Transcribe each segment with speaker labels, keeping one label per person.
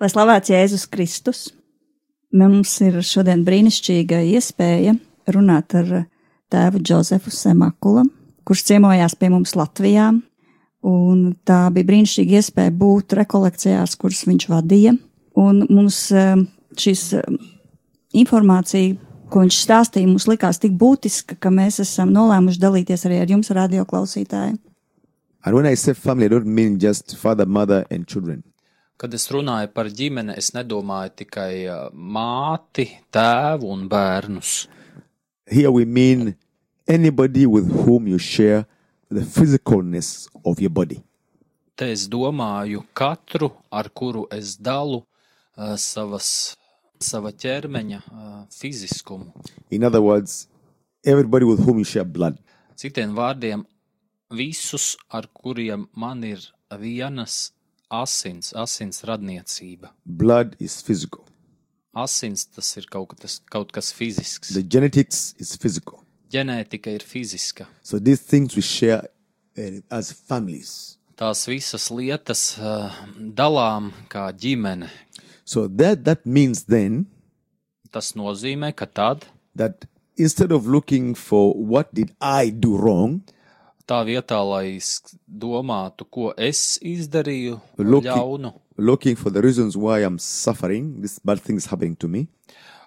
Speaker 1: Lai slavēts Jēzus Kristus, mums ir šodien brīnišķīga iespēja runāt ar tēvu Džozefu Semakulu, kurš ciemojās pie mums Latvijā. Un tā bija brīnišķīga iespēja būt rekolekcijās, kuras viņš vadīja. Un mums e, šis informācija, ko viņš stāstīja, mums likās tik būtiska, ka mēs esam nolēmuši dalīties arī ar jums, radioklausītāji.
Speaker 2: And when I say family, I don't mean just father, mother, and children.
Speaker 3: Kad es runāju par ģimeni, es nedomāju tikai uh, māti, tēvu un bērnus.
Speaker 2: Here we mean anybody with whom you share the physicalness of your body.
Speaker 3: Te es domāju katru, ar kuru es dalu uh, savas, sava ķermeņa uh, fiziskumu.
Speaker 2: In other words, everybody with whom you share blood.
Speaker 3: Citiem vārdiem, visus, ar kuriem man ir vienas asins, asins radniecība.
Speaker 2: Blood is physical,
Speaker 3: Asins tas ir kaut kas, kaut kas fizisks.
Speaker 2: the genetics is physical.
Speaker 3: Ģenētika ir fiziska.
Speaker 2: So these things we share uh, as families.
Speaker 3: Tās visas lietas uh, dalām kā ģimene.
Speaker 2: So that, that means then
Speaker 3: Tas nozīmē, ka tad
Speaker 2: that instead of looking for what did I do wrong,
Speaker 3: tā vietā, lai sk- domātu, ko es izdarīju,
Speaker 2: Loki.
Speaker 3: ļaunu,
Speaker 2: looking for the reasons why I'm suffering, this bad thing is happening to me,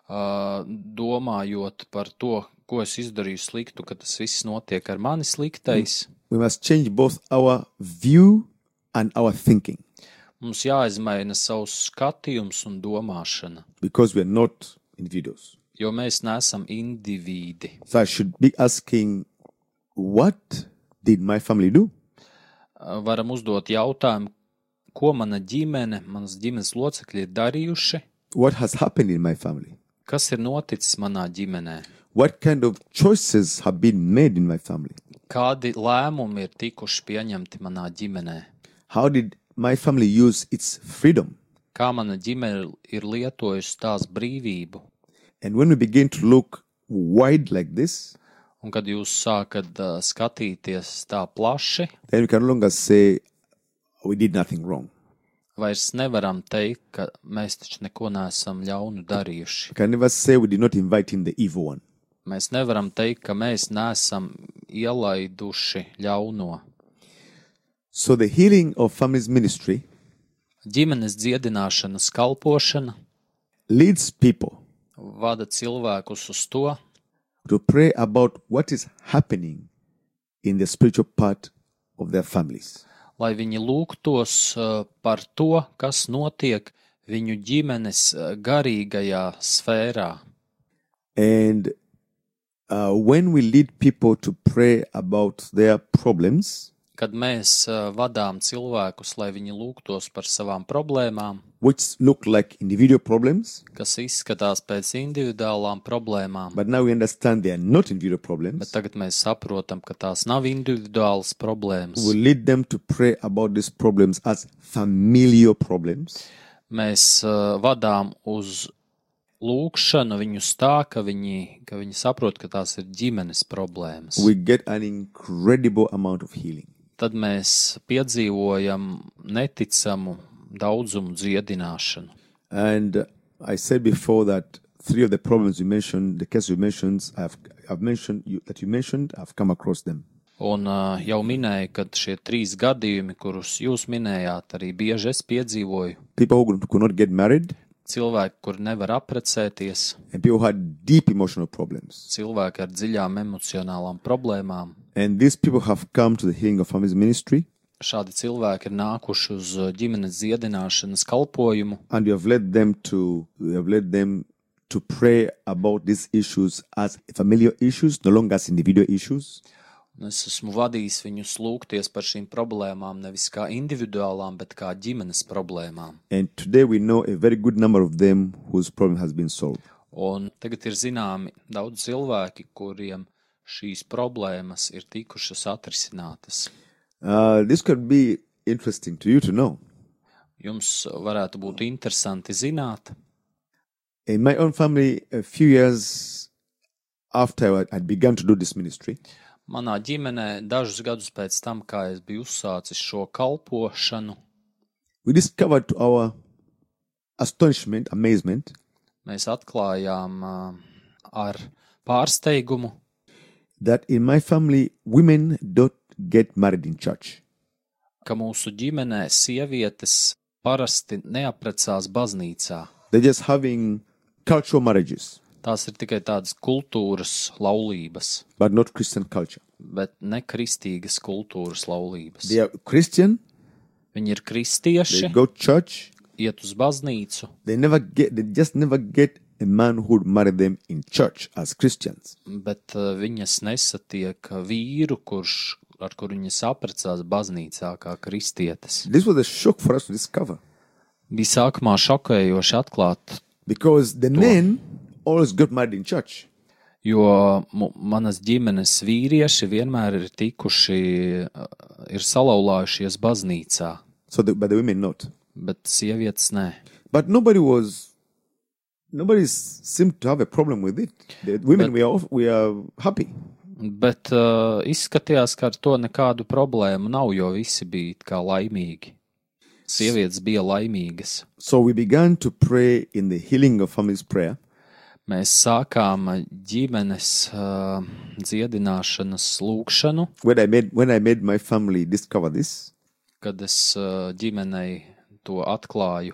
Speaker 3: uh, domājot par to, ko es izdarīju sliktu, ka tas viss notiek ar mani sliktais. Mm.
Speaker 2: we must change both our view and our thinking
Speaker 3: Mums jāizmaina savs skatījums un domāšana,
Speaker 2: because we're not individuals.
Speaker 3: jo mēs neesam indivīdi.
Speaker 2: So I should be asking, what did my family do?
Speaker 3: Uh, Varam uzdot jautājumu, ko mana ģimene, manas ģimenes locekļi ir darījuši,
Speaker 2: What has happened in my family?
Speaker 3: kas ir noticis manā ģimenē,
Speaker 2: What kind of choices have been made in my family?
Speaker 3: kādi lēmumi ir tikuši pieņemti manā ģimenē.
Speaker 2: How did my family use its freedom?
Speaker 3: kā mana ģimene ir lietojusi tās brīvību.
Speaker 2: And when we begin to look wide like this,
Speaker 3: Un kad jūs sākat uh, skatīties tā plaši,
Speaker 2: then we can no longer say we did nothing wrong.
Speaker 3: vairs nevaram teikt, ka mēs taču neko neesam ļaunu darījuši.
Speaker 2: We can never say we did not invite in the evil one.
Speaker 3: Mēs nevaram teikt, ka mēs neesam ielaiduši ļauno.
Speaker 2: So the healing of families ministry
Speaker 3: Ģimenes dziedināšanas kalpošana
Speaker 2: leads people
Speaker 3: vada cilvēkus uz to,
Speaker 2: to pray about what is happening in the spiritual part of their families.
Speaker 3: lai viņi lūgtos uh, par to, kas notiek viņu ģimenes uh, garīgajā sfērā.
Speaker 2: And uh, when we lead people to pray about their problems,
Speaker 3: kad mēs eh, vadām cilvēkus, lai viņi lūgtos par savām problēmām,
Speaker 2: which look like individual problems,
Speaker 3: kas izskatās pēc individuālām problēmām.
Speaker 2: but now we understand they are not individual
Speaker 3: Bet
Speaker 2: problems,
Speaker 3: tagad mēs saprotam, ka tās nav individuālas problēmas.
Speaker 2: we lead them to pray about these problems as familial problems,
Speaker 3: Mēs eh, vadām uz lūkšanu viņus tā, ka viņi, ka viņi saprot, ka tās ir ģimenes problēmas.
Speaker 2: we get an incredible amount of healing.
Speaker 3: Tad mēs piedzīvojam neticamu daudzumu dziedināšanu.
Speaker 2: And uh, I said before that three of the problems you mentioned, the cases you mentioned, I've, I've mentioned you, that you mentioned, I've come across them.
Speaker 3: Un ā, jau minēju, ka šie trīs gadījumi, kurus jūs minējāt, arī bieži es piedzīvoju.
Speaker 2: People who could not get married
Speaker 3: Cilvēki, kur nevar apprecēties,
Speaker 2: and people who had deep emotional problems.
Speaker 3: cilvēki ar dziļām emocionālām problēmām.
Speaker 2: And these people have come to the healing of families ministry,
Speaker 3: Šādi cilvēki ir nākuši uz ā, ģimenes dziedināšanas kalpošanu,
Speaker 2: and you have led them to you have led them to pray about these issues as familiar issues, no longer as individual issues.
Speaker 3: Un es esmu vadījis viņus lūgties par šīm problēmām nevis kā individuālām, bet kā ģimenes problēmām.
Speaker 2: And today we know a very good number of them whose problem has been solved.
Speaker 3: Un tagad ir zināmi daudz cilvēki, kuriem šīs problēmas ir tikušas atrisinātas.
Speaker 2: Uh, this could be interesting to you to know.
Speaker 3: Jums varētu būt interesanti zināt,
Speaker 2: In my own family, a few years after I- I'd begun to do this ministry,
Speaker 3: manā ģimenē dažus gadus pēc tam, kā es biju uzsācis šo kalpošanu,
Speaker 2: we discovered to our astonishment, amazement,
Speaker 3: mēs atklājām ā, ar pārsteigumu,
Speaker 2: that in my family, women don't get married in church.
Speaker 3: ka mūsu ģimenē sievietes parasti neaprecās baznīcā.
Speaker 2: They're just having cultural marriages,
Speaker 3: Tās ir tikai tādas kultūras laulības,
Speaker 2: but not Christian culture.
Speaker 3: bet ne kristīgas kultūras laulības.
Speaker 2: They are Christian,
Speaker 3: Viņi ir
Speaker 2: they
Speaker 3: kristieši,
Speaker 2: go to church,
Speaker 3: iet uz baznīcu,
Speaker 2: they never get, they just never get a man who would marry them in church as Christians.
Speaker 3: bet eh, viņas nesatiek vīru, kurš, ar kuru viņas aprecās baznīcā kā kristietes.
Speaker 2: This was a shock for us to discover
Speaker 3: Bija sākumā šokējoši atklāt,
Speaker 2: because the men always got married in church.
Speaker 3: jo mu- manas ģimenes vīrieši vienmēr ir tikuši, eh, ir salauzājušies baznīcā,
Speaker 2: So, the, but the women not.
Speaker 3: bet sievietes nē.
Speaker 2: But nobody was, nobody s- seemed to have a problem with it. The women we are off, we are happy.
Speaker 3: Bet uh, izskatījās, ka ar to nekādu problēmu nav, jo visi bija it kā laimīgi. Sievietes bija laimīgas.
Speaker 2: So we began to pray in the healing of families prayer.
Speaker 3: Mēs sākām eh, ģimenes uh, dziedināšanas lūgšanu,
Speaker 2: When I made when I made my family discover this.
Speaker 3: kad es uh, ģimenei to atklāju.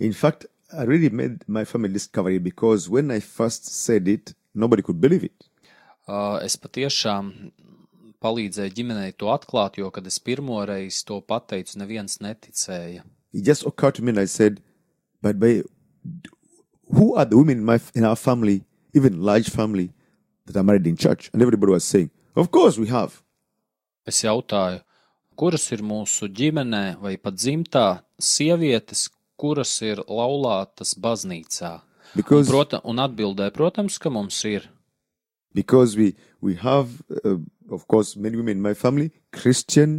Speaker 2: In fact, I really made my family discover it because when I first said it, nobody could believe it.
Speaker 3: Uh, es patiešām palīdzēju ģimenei to atklāt, jo, kad es pirmoreiz to pateicu, neviens neticēja.
Speaker 2: It just occurred to me, and I said, "But by, who are the women in my in our family, even large family, that are married in church?" And everybody was saying, "Of course we have."
Speaker 3: Es jautāju, kuras ir mūsu ģimenē vai pat dzimtā sievietes, kuras ir laulātas baznīcā? Un,
Speaker 2: Because
Speaker 3: prota, un atbildēja, protams, ka mums ir.
Speaker 2: because we we have uh, of course many women in my family christian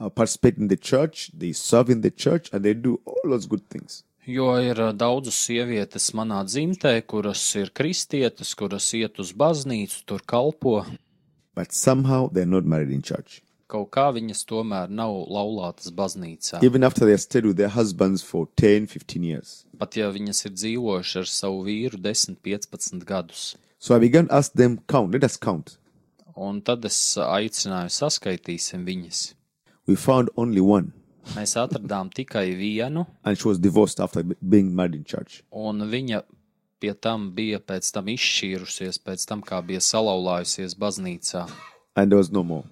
Speaker 2: uh, participate in the church they serve in the church and they do all those good things
Speaker 3: Jo ir ā, daudzas sievietes manā dzimtē, kuras ir kristietes, kuras iet uz baznīcu, tur kalpo.
Speaker 2: but somehow they're not married in church
Speaker 3: Kaut kā viņas tomēr nav laulātas baznīcā.
Speaker 2: even after they stayed with their husbands for 10 15 years
Speaker 3: Pat ja viņas ir dzīvojušas ar savu vīru 10, 15 gadus.
Speaker 2: so i began to ask them count let us count
Speaker 3: Un tad es aicināju, saskaitīsim viņas.
Speaker 2: we found only one
Speaker 3: Mēs atradām tikai vienu,
Speaker 2: and she was divorced after b- being married in church
Speaker 3: un viņa pie tam bija pēc tam izšķīrusies, pēc tam, kā bija salauzājusies baznīcā,
Speaker 2: and there was no more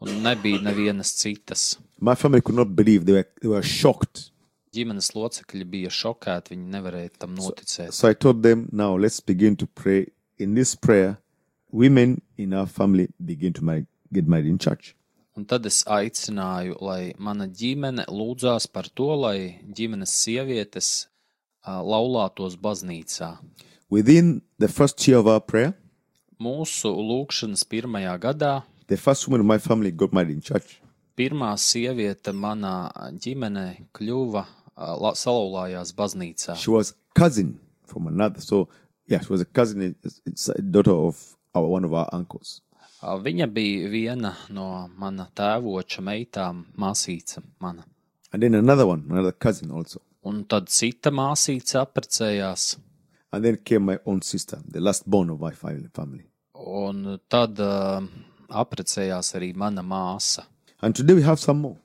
Speaker 3: un nebija nevienas citas.
Speaker 2: my family could not believe they were, they were shocked
Speaker 3: Ģimenes locekļi bija šokēti, viņi nevarēja tam noticēt.
Speaker 2: So I told them, now let's begin to pray. In this prayer, women in our family begin to marry, get married in church.
Speaker 3: Un tad es aicināju, lai mana ģimene lūdzās par to, lai ģimenes sievietes ā, laulātos baznīcā.
Speaker 2: Within the first year of our prayer,
Speaker 3: Mūsu lūkšanas pirmajā gadā
Speaker 2: the first woman in my family got married in church.
Speaker 3: pirmā sieviete manā ģimenē kļuva ā, la- salauzājās baznīcā.
Speaker 2: She was cousin from another. So yeah, she was a cousin, it's, it's a daughter of our, one of our uncles.
Speaker 3: Viņa bija viena no mana tēvoča meitām, māsīca mana.
Speaker 2: And then another one, another cousin also.
Speaker 3: Un tad cita māsīca apprecējās,
Speaker 2: And then came my own sister, the last born of my fam- family.
Speaker 3: un tad uh, apprecējās arī mana māsa.
Speaker 2: And today we have some more.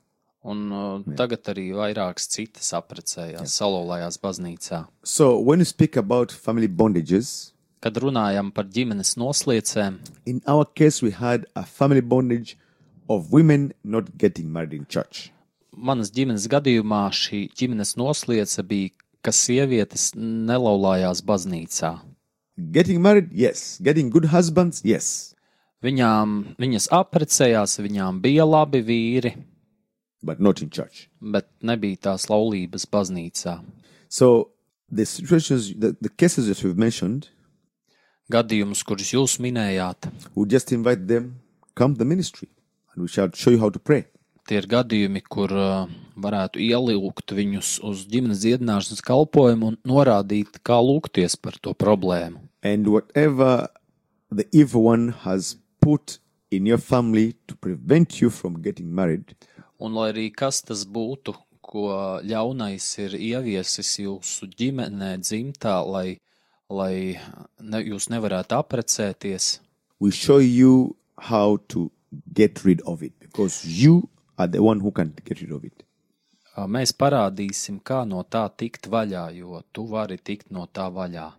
Speaker 3: Un uh, tagad arī vairākas citas apprecējās, salolājās baznīcā.
Speaker 2: So when you speak about family bondages,
Speaker 3: Kad runājam par ģimenes nosliecēm,
Speaker 2: In our case, we had a family bondage of women not getting married in church.
Speaker 3: manas ģimenes gadījumā šī ģimenes nosliece bija, ka sievietes nelaulājās baznīcā.
Speaker 2: Getting married, yes. Getting good husbands, yes.
Speaker 3: Viņām, viņas apprecējās, viņām bija labi vīri,
Speaker 2: but not in church.
Speaker 3: bet nebija tās laulības baznīcā.
Speaker 2: So the situations, the, the cases that we've mentioned,
Speaker 3: Gadījumus, kurus jūs minējāt,
Speaker 2: we just invite them, come to the ministry, and we shall show you how to pray.
Speaker 3: tie ir gadījumi, kur ā, varētu ielūgt viņus uz ģimenes dziedināšanas kalpošanu un norādīt, kā lūgties par to problēmu.
Speaker 2: And whatever the evil one has put in your family to prevent you from getting married,
Speaker 3: Un lai arī kas tas būtu, ko ļaunais ir ieviesis jūsu ģimenē, dzimtā, lai, lai ne, jūs nevarētu apprecēties,
Speaker 2: we show you how to get rid of it because you are the one who can get rid of it.
Speaker 3: ā, uh, mēs parādīsim, kā no tā tikt vaļā, jo tu vari tikt no tā vaļā.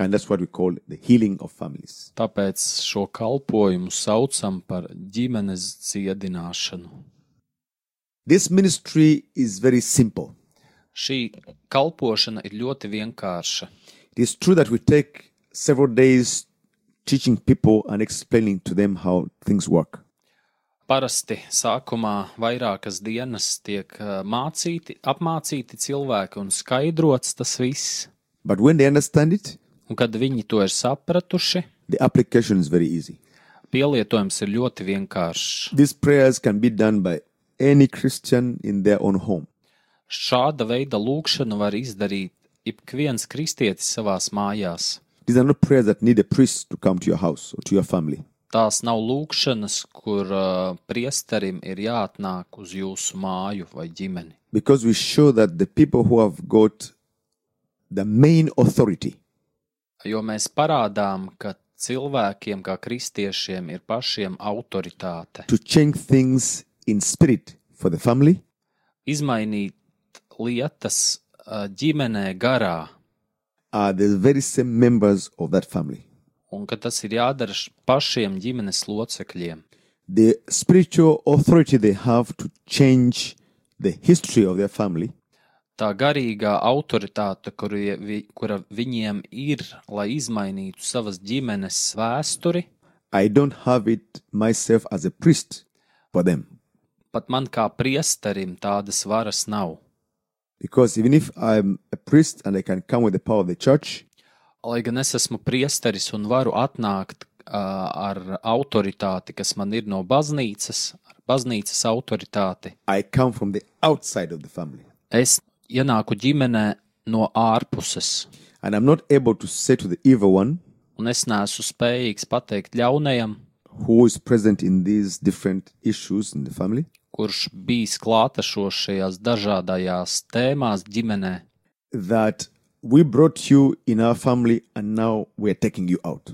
Speaker 2: And that's what we call the healing of families.
Speaker 3: Tāpēc šo kalpošanu saucam par ģimenes dziedināšanu.
Speaker 2: This ministry is very simple.
Speaker 3: Šī kalpošana ir ļoti vienkārša.
Speaker 2: It is true that we take several days teaching people and explaining to them how things work.
Speaker 3: Parasti sākumā vairākas dienas tiek eh, mācīti, apmācīti cilvēki un skaidrots tas viss.
Speaker 2: But when they understand it,
Speaker 3: Un kad viņi to ir sapratuši,
Speaker 2: the application is very easy.
Speaker 3: pielietojums ir ļoti vienkāršs.
Speaker 2: These prayers can be done by any Christian in their own home.
Speaker 3: Šāda veida lūkšanu var izdarīt ik viens kristietis savās mājās.
Speaker 2: These are not prayers that need a priest to come to your house or to your family.
Speaker 3: Tās nav lūkšanas, kur eh, priesterim ir jāatnāk uz jūsu māju vai ģimeni.
Speaker 2: Because we show that the people who have got the main authority
Speaker 3: Jo mēs parādām, ka cilvēkiem, kā kristiešiem, ir pašiem autoritāte.
Speaker 2: to change things in spirit for the family
Speaker 3: Izmainīt lietas eh, ģimenē garā,
Speaker 2: are the very same members of that family.
Speaker 3: un ka tas ir jādara š- pašiem ģimenes locekļiem.
Speaker 2: The spiritual authority they have to change the history of their family
Speaker 3: Tā garīgā autoritāte, kuru, vi- kura viņiem ir, lai izmainītu savas ģimenes vēsturi,
Speaker 2: I don't have it myself as a priest for them.
Speaker 3: pat man kā priesterim tādas varas nav.
Speaker 2: Because even if I'm a priest and I can come with the power of the church,
Speaker 3: Lai gan es esmu priesteris un varu atnākt uh, ar autoritāti, kas man ir no baznīcas, ar baznīcas autoritāti,
Speaker 2: I come from the outside of the family.
Speaker 3: es ienāku ģimenē no ārpuses,
Speaker 2: And I'm not able to say to the evil one
Speaker 3: un es neesmu spējīgs pateikt ļaunajam,
Speaker 2: who is present in these different issues in the family,
Speaker 3: kurš bijis klātešošajās dažādajās tēmās ģimenē.
Speaker 2: that we brought you in our family and now we're taking you out.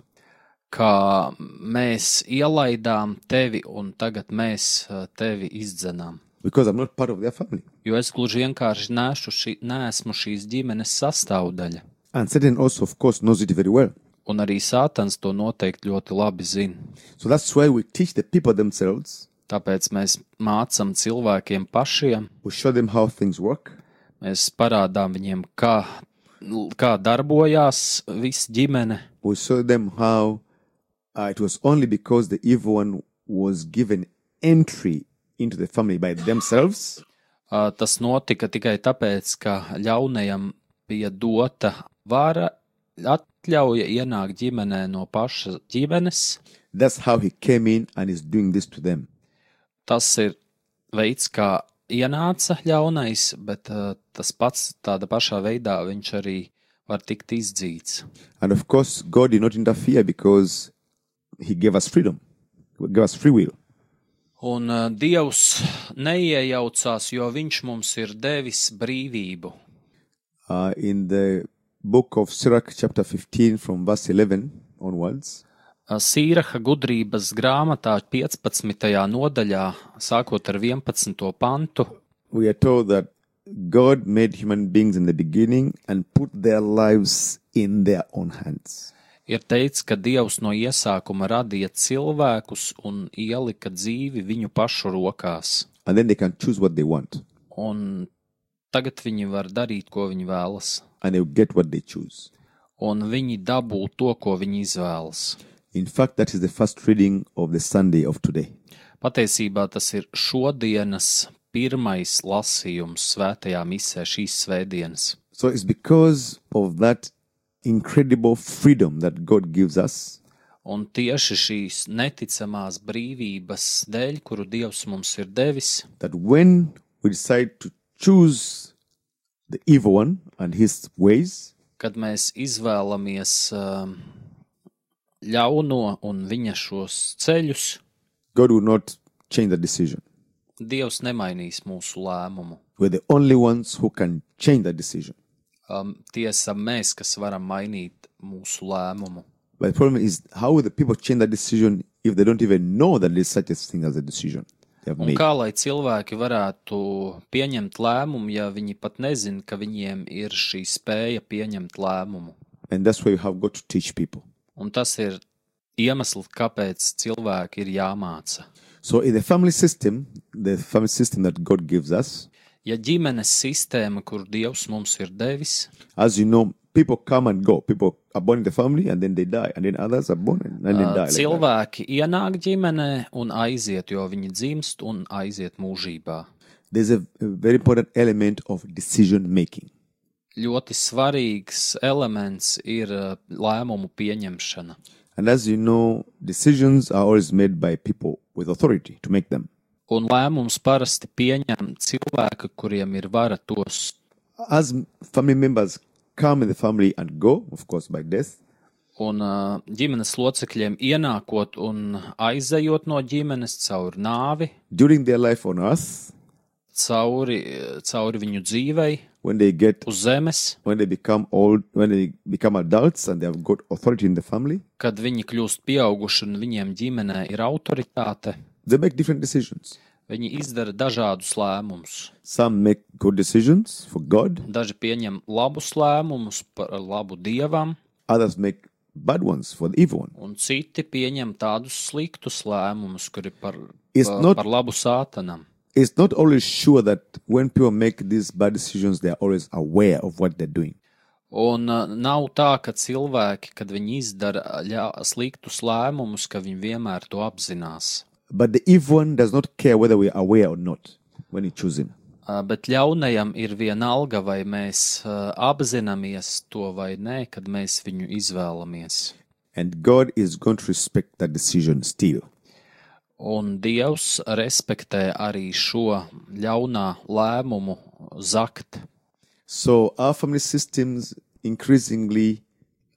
Speaker 3: Kā mēs ielaidām tevi, un tagad mēs eh, tevi izdzenām.
Speaker 2: Because I'm not part of their family.
Speaker 3: Jo es gluži vienkārši nešu šī, neesmu šīs ģimenes sastāvdaļa,
Speaker 2: And Satan also, of course, knows it very well.
Speaker 3: un arī Sātans to noteikti ļoti labi zina.
Speaker 2: So that's why we teach the people themselves,
Speaker 3: Tāpēc mēs mācām cilvēkiem pašiem,
Speaker 2: we show them how things work,
Speaker 3: mēs parādām viņiem, kā, kā darbojās viss ģimene,
Speaker 2: we show them how uh, it was only because the evil one was given entry into the family by themselves
Speaker 3: Ā, Tas notika tikai tāpēc, ka ļaunajam bija dota vara, atļauja ienākt ģimenē no pašas ģimenes.
Speaker 2: That's how he came in and is doing this to them.
Speaker 3: Tas ir veids, kā ienāca ļaunais, bet ā, tas pats tādā pašā veidā viņš arī var tikt izdzīts.
Speaker 2: And of course, God did not interfere because he gave us freedom, he gave us free will.
Speaker 3: Un ā, Dievs neiejaucās, jo viņš mums ir devis brīvību. Eh,
Speaker 2: Uh, in the book of Sirach, chapter 15, from verse 11 onwards,
Speaker 3: Ā, Sīraha gudrības grāmatā 15. nodaļā, sākot ar 11. pantu,
Speaker 2: we are told that God made human beings in the beginning and put their lives in their own hands.
Speaker 3: ir teikts, ka Dievs no iesākuma radīja cilvēkus un ielika dzīvi viņu pašu rokās.
Speaker 2: And then they can choose what they want
Speaker 3: Un tagad viņi var darīt, ko viņi vēlas,
Speaker 2: and they'll get what they choose.
Speaker 3: un viņi dabū to, ko viņi izvēlas.
Speaker 2: In fact, that is the first reading of the Sunday of today.
Speaker 3: Patiesībā tas ir šodienas pirmais lasījums svētajā misē šīs svētdienas.
Speaker 2: So it's because of that incredible freedom that God gives us
Speaker 3: Un tieši šīs neticamās brīvības dēļ, kuru Dievs mums ir devis,
Speaker 2: that when we decide to choose the evil one and his ways,
Speaker 3: kad mēs izvēlamies um, ļauno un viņa šos ceļus,
Speaker 2: God will not change the decision.
Speaker 3: Dievs nemainīs mūsu lēmumu.
Speaker 2: We're the only ones who can change that decision.
Speaker 3: Um, tiesa mēs, kas varam mainīt mūsu lēmumu.
Speaker 2: But the problem is, how will the people change that decision if they don't even know that there's such a thing as a decision they have
Speaker 3: Un
Speaker 2: made?
Speaker 3: kā lai cilvēki varētu pieņemt lēmumu, ja viņi pat nezina, ka viņiem ir šī spēja pieņemt lēmumu?
Speaker 2: And that's why you have got to teach people.
Speaker 3: Un tas ir iemesls, kāpēc cilvēki ir jāmāca.
Speaker 2: So, in the family system, the family system that God gives us,
Speaker 3: Ja ģimenes sistēma, kur Dievs mums ir devis,
Speaker 2: as you know, people come and go. People are born in the family and then they die, and then others are born and then they die.
Speaker 3: ā,
Speaker 2: like that.
Speaker 3: cilvēki ienāk ģimenē un aiziet, jo viņi dzimst un aiziet mūžībā.
Speaker 2: There's a a very important element of decision making.
Speaker 3: Ļoti svarīgs elements ir ā, lēmumu pieņemšana.
Speaker 2: And as you know, decisions are always made by people with authority to make them.
Speaker 3: Un lēmums parasti pieņem cilvēki, kuriem ir vara tos
Speaker 2: As m- family members come in the family and go, of course, by death,
Speaker 3: Un ā, ģimenes locekļiem ienākot un aizejot no ģimenes cauri nāvi,
Speaker 2: during their life on earth,
Speaker 3: cauri, cauri viņu dzīvei,
Speaker 2: when they get
Speaker 3: uz zemes,
Speaker 2: when they become old, when they become adults and they have got authority in the family,
Speaker 3: kad viņi kļūst pieauguši un viņiem ģimenē ir autoritāte,
Speaker 2: they make different decisions.
Speaker 3: viņi izdara dažādus lēmumus.
Speaker 2: Some make good decisions for God,
Speaker 3: Daži pieņem labus lēmumus par labu dievam,
Speaker 2: others make bad ones for the evil one.
Speaker 3: un citi pieņem tādus sliktus lēmumus, kuri par,
Speaker 2: It's
Speaker 3: par,
Speaker 2: not-
Speaker 3: par labu sātanam.
Speaker 2: It's not always sure that when people make these bad decisions, they are always aware of what they're doing.
Speaker 3: Un ā, nav tā, ka cilvēki, kad viņi izdara ļā, sliktus lēmumus, ka viņi vienmēr to apzinās.
Speaker 2: But the evil one does not care whether we are aware or not when he chooses him.
Speaker 3: Ā, Uh, Bet ļaunajam ir vienalga, vai mēs ā, apzināmies to vai nē, kad mēs viņu izvēlamies.
Speaker 2: And God is going to respect that decision still.
Speaker 3: Un Dievs respektē arī šo ļaunā lēmumu zakt.
Speaker 2: So our family systems increasingly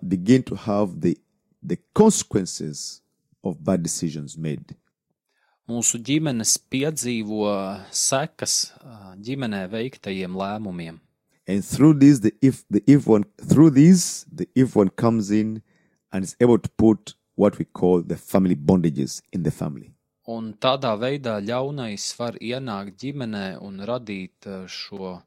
Speaker 2: begin to have the, the consequences of bad decisions made.
Speaker 3: Mūsu ģimenes piedzīvo sekas ā, ģimenē veiktajiem lēmumiem.
Speaker 2: And through this, the if the evil one through this, the evil one comes in and is able to put what we call the family bondages in the family.
Speaker 3: Un tādā veidā ļaunais var ienākt ģimenē un radīt eh, šo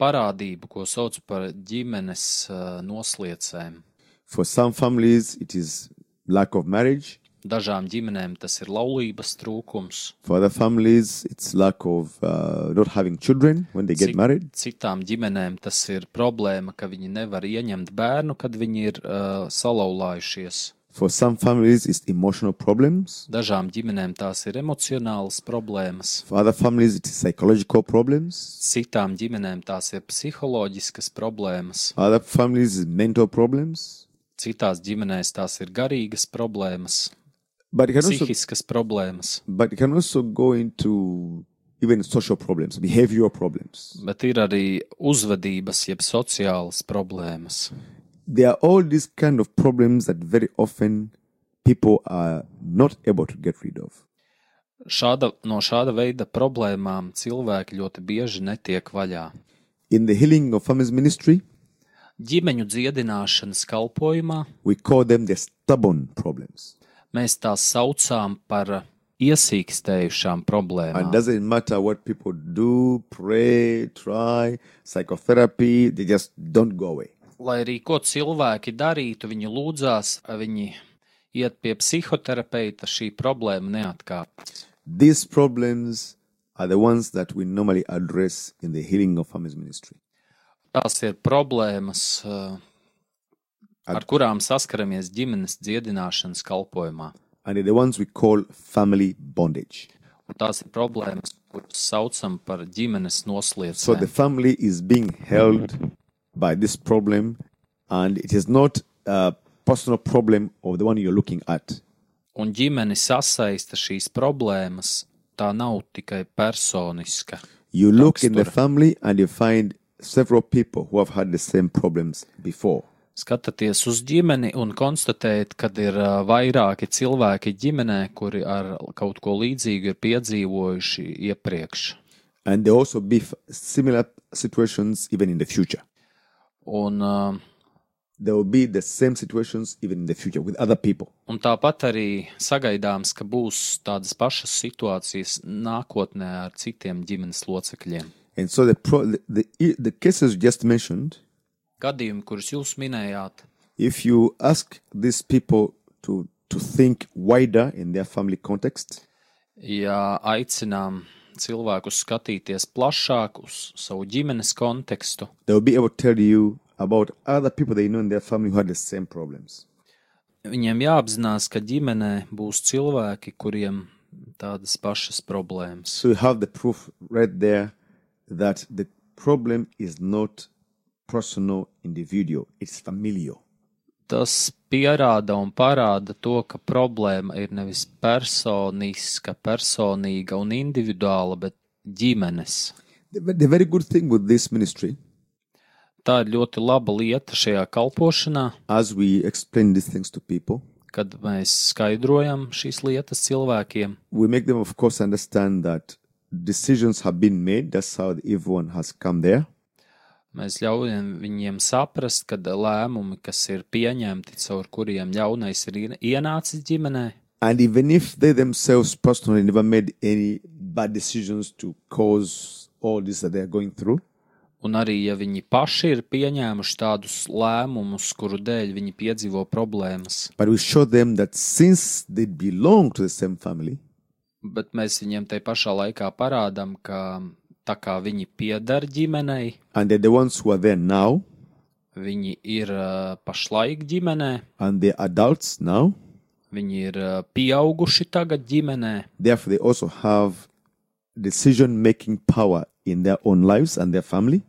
Speaker 3: parādību, ko sauc par ģimenes eh, nosliecēm.
Speaker 2: For some families, it is lack of marriage.
Speaker 3: Dažām ģimenēm tas ir laulības trūkums,
Speaker 2: For other families, it's lack of uh, not having children when they get
Speaker 3: Cit-
Speaker 2: married.
Speaker 3: citām ģimenēm tas ir problēma, ka viņi nevar ieņemt bērnu, kad viņi ir uh, salauzājušies.
Speaker 2: For some families, it's emotional problems.
Speaker 3: Dažām ģimenēm tās ir emocionālas problēmas,
Speaker 2: For other families, it is psychological problems.
Speaker 3: citām ģimenēm tās ir psiholoģiskas problēmas,
Speaker 2: Other families, it's mental problems.
Speaker 3: citās ģimenēs tās ir garīgas problēmas.
Speaker 2: But it can also,
Speaker 3: psihiskas problēmas,
Speaker 2: but it can also go into even social problems, behavioral problems.
Speaker 3: bet ir arī uzvedības, jeb sociālas problēmas.
Speaker 2: There are all these kind of problems that very often people are not able to get rid of.
Speaker 3: Šāda, no šāda veida problēmām cilvēki ļoti bieži netiek vaļā.
Speaker 2: In the healing of families ministry,
Speaker 3: Ģimeņu dziedināšanas kalpošanā
Speaker 2: we call them the stubborn problems.
Speaker 3: mēs tās saucām par iesīkstējušām
Speaker 2: And
Speaker 3: problēmām.
Speaker 2: doesn't matter what people do, pray, try, psychotherapy, they just don't go away.
Speaker 3: Lai arī ko cilvēki darītu, viņi lūdzās, viņi iet pie psihoterapeita, šī problēma neatkāpjas.
Speaker 2: These problems are the ones that we normally address in the healing of families ministry.
Speaker 3: tās ir problēmas, eh, ar kurām saskaramies ģimenes dziedināšanas kalpošanā.
Speaker 2: and they're the ones we call family bondage.
Speaker 3: Tās ir problēmas, kuras saucam par ģimenes
Speaker 2: So the
Speaker 3: noslēpumu.
Speaker 2: family is being held by this problem, and it is not a personal problem of the one you're looking at.
Speaker 3: Un ģimene sasaista šīs problēmas. Tā nav tikai personiska.
Speaker 2: You look in the family and you find several people who have had the same problems before.
Speaker 3: Skatoties uz ģimeni un konstatējat, ka ir ā, vairāki cilvēki ģimenē, kuri ar kaut ko līdzīgu ir piedzīvojuši iepriekš.
Speaker 2: And there also be f- similar situations even in the future.
Speaker 3: Un, ā,
Speaker 2: There will be the same situations even in the future with other people.
Speaker 3: un tāpat arī sagaidāms, ka būs tādas pašas situācijas nākotnē ar citiem ģimenes locekļiem.
Speaker 2: And so the, pro- the, the, the cases you just mentioned,
Speaker 3: Gadījumi, kurus jūs minējāt,
Speaker 2: if you ask these people to, to think wider in their family context,
Speaker 3: ja aicinām cilvēkus skatīties plašāk uz savu ģimenes kontekstu,
Speaker 2: they'll be able to tell you about other people they know in their family who had the same problems.
Speaker 3: Viņiem jāapzinās, ka ģimenē būs cilvēki, kuriem tādas pašas problēmas.
Speaker 2: So you have the proof right there that the problem is not personal, individual, it's familial.
Speaker 3: Tas pierāda un parāda to, ka problēma ir nevis personiska, personīga un individuāla, bet ģimenes.
Speaker 2: The, ve- the very good thing with this ministry,
Speaker 3: Tā ir ļoti laba lieta šajā kalpošanā,
Speaker 2: as we explain these things to people,
Speaker 3: kad mēs skaidrojam šīs lietas cilvēkiem.
Speaker 2: we make them, of course, understand that decisions have been made. That's how everyone has come there.
Speaker 3: Mēs ļaujam viņiem saprast, ka lēmumi, kas ir pieņemti, caur kuriem jaunais ir ien- ienācis ģimenei,
Speaker 2: And even if they themselves personally never made any bad decisions to cause all this that they're going through,
Speaker 3: Un arī, ja viņi paši ir pieņēmuši tādus lēmumus, kuru dēļ viņi piedzīvo problēmas,
Speaker 2: but we show them that since they belong to the same family,
Speaker 3: bet mēs viņiem te pašā laikā parādām, ka tā kā viņi piedar ģimenei,
Speaker 2: and they're the ones who are there now,
Speaker 3: viņi ir ā, pašlaik ģimenē,
Speaker 2: and they're adults now,
Speaker 3: viņi ir ā, pieauguši tagad ģimenē,
Speaker 2: therefore they also have decision making power in their own lives and their family.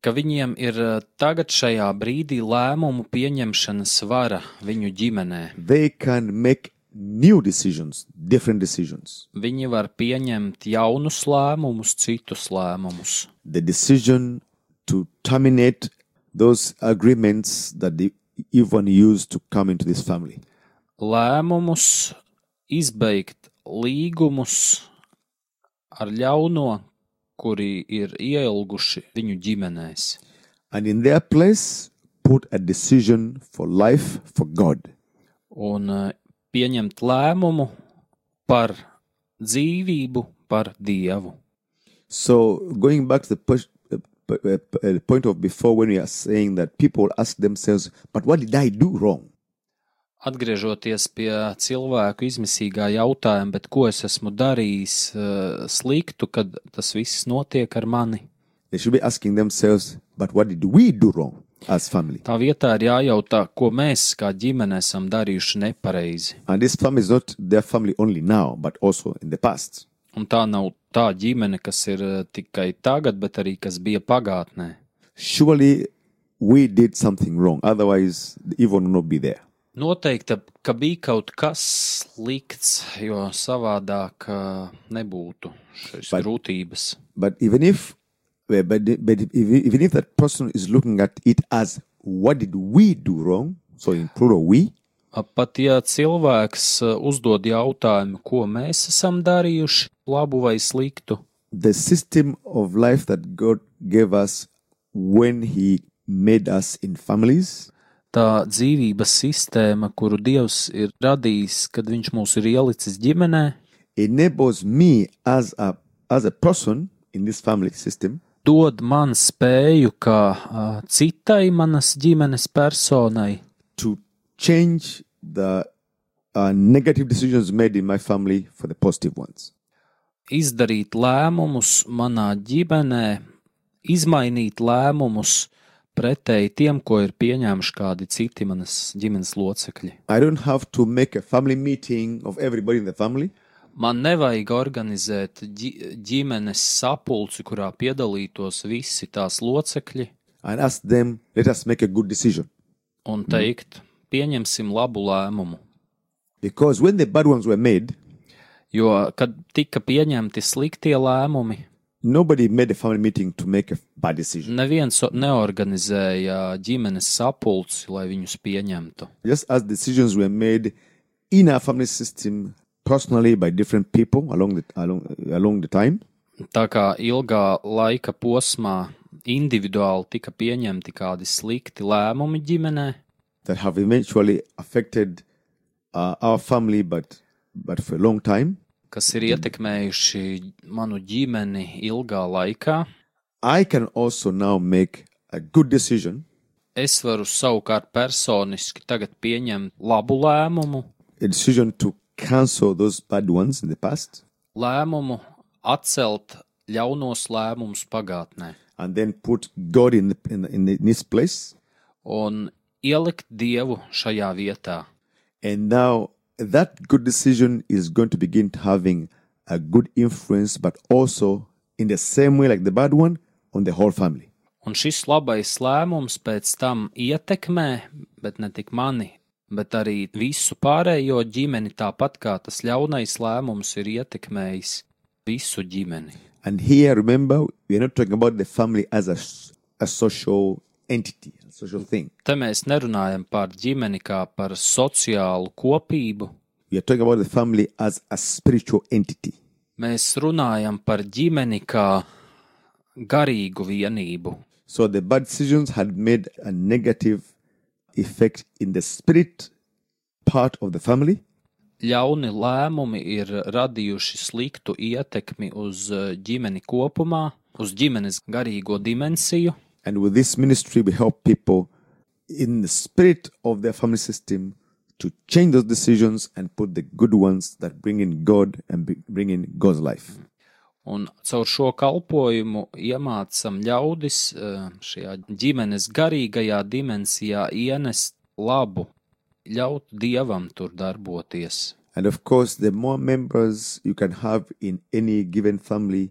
Speaker 3: ka viņiem ir ā, tagad šajā brīdī lēmumu pieņemšanas vara viņu ģimenē.
Speaker 2: They can make new decisions, different decisions.
Speaker 3: Viņi var pieņemt jaunus lēmumus, citus lēmumus.
Speaker 2: the decision to terminate those agreements that the Ivan used to come into this family.
Speaker 3: lēmumus, izbeigt līgumus ar ļauno, kuri ir ieilguši viņu ģimenēs.
Speaker 2: And in their place, put a decision for life for God.
Speaker 3: Un eh, pieņemt lēmumu par dzīvību, par dievu.
Speaker 2: So, going back to the push, uh, p- uh, p- uh, point of before, when we are saying that people ask themselves, but what did I do wrong?
Speaker 3: Atgriežoties pie cilvēku izmisīgā jautājuma, bet ko es esmu darījis eh, sliktu, kad tas viss notiek ar mani?
Speaker 2: They should be asking themselves, but what did we do wrong as family?
Speaker 3: Tā vietā ir jājautā, ko mēs kā ģimene esam darījuši nepareizi.
Speaker 2: And this family is not their family only now, but also in the past.
Speaker 3: Un tā nav tā ģimene, kas ir eh, tikai tagad, bet arī kas bija pagātnē.
Speaker 2: surely we did something wrong. Otherwise, the evil will not be there.
Speaker 3: Noteikti, ka bija kaut kas slikts, jo savādāk eh, nebūtu šīs
Speaker 2: Vai-
Speaker 3: grūtības.
Speaker 2: But even if, uh, but, but but if- even if that person is looking at it as what did we do wrong, so in plural we,
Speaker 3: Eh, Pat ja cilvēks eh, uzdod jautājumu, ko mēs esam darījuši, labu vai sliktu,
Speaker 2: the system of life that God gave us when He made us in families
Speaker 3: tā dzīvības sistēma, kuru Dievs ir radījis, kad Viņš mūs ir ielicis ģimenē,
Speaker 2: enables me as a as a person in this family system
Speaker 3: dod man spēju kā eh, citai manas ģimenes personai
Speaker 2: to change the uh, negative decisions made in my family for the positive ones.
Speaker 3: izdarīt lēmumus manā ģimenē, izmainīt lēmumus pretēji tiem, ko ir pieņēmuši kādi citi manas ģimenes locekļi.
Speaker 2: I don't have to make a family meeting of everybody in the family.
Speaker 3: Man nevajag organizēt ģi ģimenes sapulci, kurā piedalītos visi tās locekļi
Speaker 2: and ask them, let us make a good decision.
Speaker 3: un teikt, pieņemsim labu lēmumu.
Speaker 2: Because when the bad ones were made,
Speaker 3: Jo, kad tika pieņemti sliktie lēmumi,
Speaker 2: nobody made a family meeting to make a bad decision.
Speaker 3: neviens o- neorganizēja ģimenes sapulci, lai viņus pieņemtu.
Speaker 2: Just as decisions were made in our family system personally by different people along the, along, along the time,
Speaker 3: Tā kā ilgā laika posmā individuāli tika pieņemti kādi slikti lēmumi ģimenē,
Speaker 2: that have eventually affected uh, our family, but, but for a long time.
Speaker 3: kas ir ietekmējuši manu ģimeni ilgā laikā,
Speaker 2: I can also now make a good decision,
Speaker 3: es varu savukārt personiski tagad pieņemt labu lēmumu,
Speaker 2: a decision to cancel those bad ones in the past,
Speaker 3: lēmumu atcelt ļaunos lēmumus pagātnē
Speaker 2: and then put God in, the, in, the, in, the, in His place.
Speaker 3: un ielikt dievu šajā vietā.
Speaker 2: And now that good decision is going to begin having a good influence, but also in the same way like the bad one on the whole family.
Speaker 3: Un šis labais lēmums pēc tam ietekmē, bet ne tik mani, bet arī visu pārējo ģimeni, tāpat kā tas ļaunais lēmums ir ietekmējis visu ģimeni.
Speaker 2: And here, remember, we're not talking about the family as a, s- a social entity, a social thing.
Speaker 3: Te mēs nerunājam par ģimeni kā par sociālu kopību,
Speaker 2: We are talking about the family as a spiritual entity.
Speaker 3: mēs runājam par ģimeni kā garīgu vienību.
Speaker 2: So the bad decisions had made a negative effect in the spirit part of the family,
Speaker 3: Ļauni lēmumi ir radījuši sliktu ietekmi uz eh, ģimeni kopumā, uz ģimenes garīgo dimensiju,
Speaker 2: And with this ministry, we help people in the spirit of their family system to change those decisions and put the good ones that bring in God and be- bring in God's life.
Speaker 3: Un caur šo kalpošanu iemācām ļaudis eh, šajā ģimenes garīgajā dimensijā ienest labu, ļaut dievam tur darboties.
Speaker 2: And of course, the more members you can have in any given family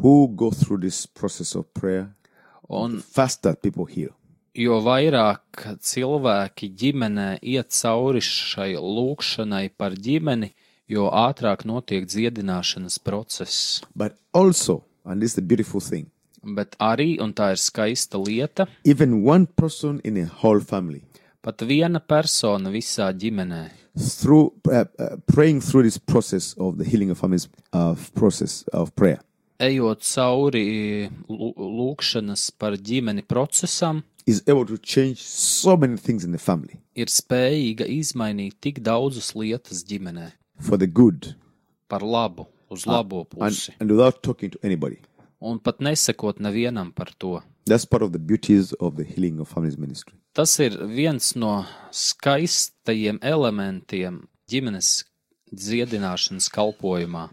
Speaker 2: who go through this process of prayer,
Speaker 3: On-
Speaker 2: the faster people heal.
Speaker 3: Jo vairāk cilvēki ģimenē iet cauri šai lūkšanai par ģimeni, jo ātrāk notiek dziedināšanas process.
Speaker 2: But also, and this is the beautiful thing,
Speaker 3: Bet arī, un tā ir skaista lieta,
Speaker 2: even one person in a whole family,
Speaker 3: pat viena persona visā ģimenē
Speaker 2: through uh, uh, praying through this process of the healing of families uh, process of prayer
Speaker 3: ejot cauri lū- lūkšanas par ģimeni procesam,
Speaker 2: is able to change so many things in the family
Speaker 3: ir spējīga izmainīt tik daudzas lietas ģimenē
Speaker 2: for the good
Speaker 3: par labu, uz labo
Speaker 2: and,
Speaker 3: pusi,
Speaker 2: and without talking to anybody
Speaker 3: un pat nesakot nevienam par to.
Speaker 2: that's part of the beauties of the healing of families ministry
Speaker 3: Tas ir viens no skaistajiem elementiem ģimenes dziedināšanas kalpošanā.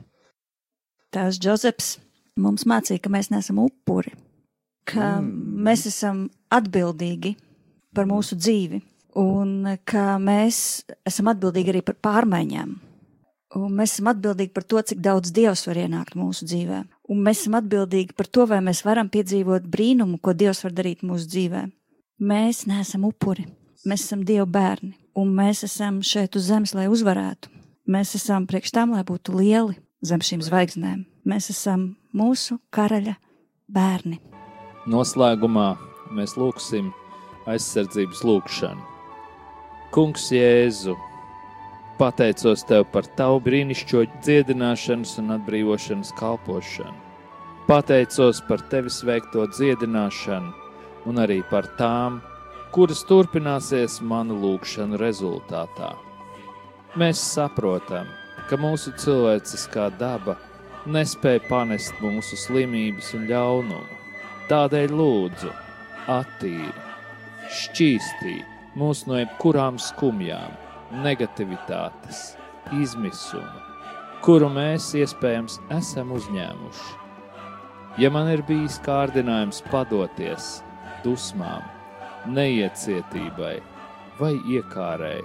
Speaker 1: Tās Džozefs mums mācīja, ka mēs neesam upuri, ka mm. mēs esam atbildīgi par mūsu dzīvi un ka mēs esam atbildīgi arī par pārmaiņām. Un mēs esam atbildīgi par to, cik daudz Dievs var ienākt mūsu dzīvē. Un mēs esam atbildīgi par to, vai mēs varam piedzīvot brīnumu, ko Dievs var darīt mūsu dzīvē. Mēs neesam upuri, mēs esam Dieva bērni, un mēs esam šeit uz zemes, lai uzvarētu. Mēs esam priekš tam, lai būtu lieli zem šīm zvaigznēm. Mēs esam mūsu karaļa bērni.
Speaker 4: Noslēgumā mēs lūgsim aizsardzības lūgšanu. Kungs, Jēzu, pateicos Tev par Tavu brīnišķo dziedināšanas un atbrīvošanas kalpošanu. Pateicos par Tevis veikto dziedināšanu un arī par tām, kuras turpināsies manu lūgšanu rezultātā. Mēs saprotam, ka mūsu cilvēciskā daba nespēja panest mūsu slimības un ļaunumu. Tādēļ lūdzu, attīri, šķīstī mūs no jebkurām skumjām, negativitātes, izmisuma, kuru mēs iespējams esam uzņēmuši. Ja man ir bijis kārdinājums padoties, dusmām, necietībai vai iekārai.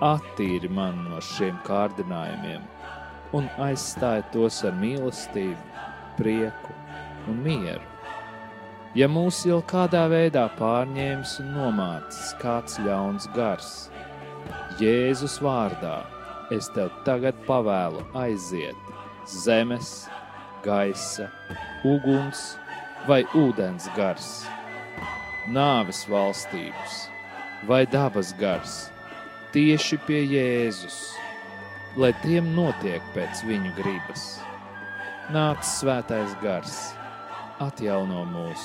Speaker 4: Attīri mani no šiem kārdinājumiem un aizstāja tos ar mīlestību, prieku un mieru. Ja mūs jau kādā veidā pārņēmis un nomācis kāds ļauns gars, Jēzus vārdā es tev tagad pavēlu aiziet zemes, gaisa, uguns vai ūdens gars, nāves valstības vai dabas gars tieši pie Jēzus, lai tiem notiek pēc viņu gribas. Nāc svētais gars, atjauno mūs,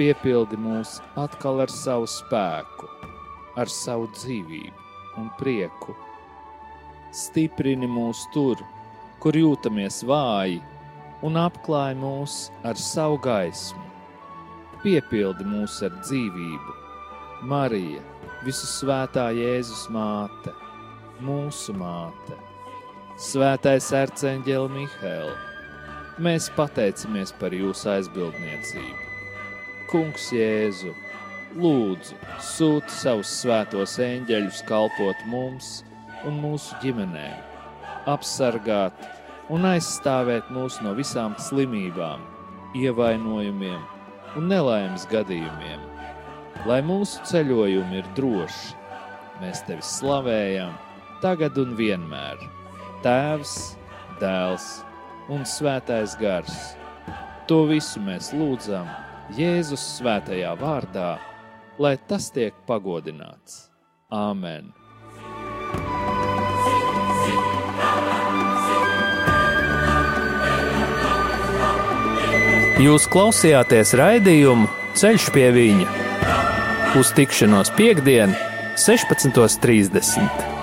Speaker 4: piepildi mūs atkal ar savu spēku, ar savu dzīvību un prieku. Stiprini mūs tur, kur jūtamies vāji, un apklāj mūs ar savu gaismu. Piepildi mūs ar dzīvību, Marija, visu svētā Jēzus māte, mūsu māte, Svētais arcēnģeli Mihēl. Mēs pateicamies par jūsu aizbildniecību. Kungs Jēzu, lūdzu, sūti savus svētos eņģeļus kalpot mums un mūsu ģimenēm, apsargāt un aizstāvēt mūs no visām slimībām, ievainojumiem un nelaimes gadījumiem. Lai mūsu ceļojumi ir droši, mēs tevi slavējam tagad un vienmēr. Tēvs, dēls un svētais gars. To visu mēs lūdzam Jēzus svētajā vārdā, lai tas tiek pagodināts. Āmen!
Speaker 5: Jūs klausījāties raidījumu Ceļš pie viņa uz tikšanos piekdien, 16.30.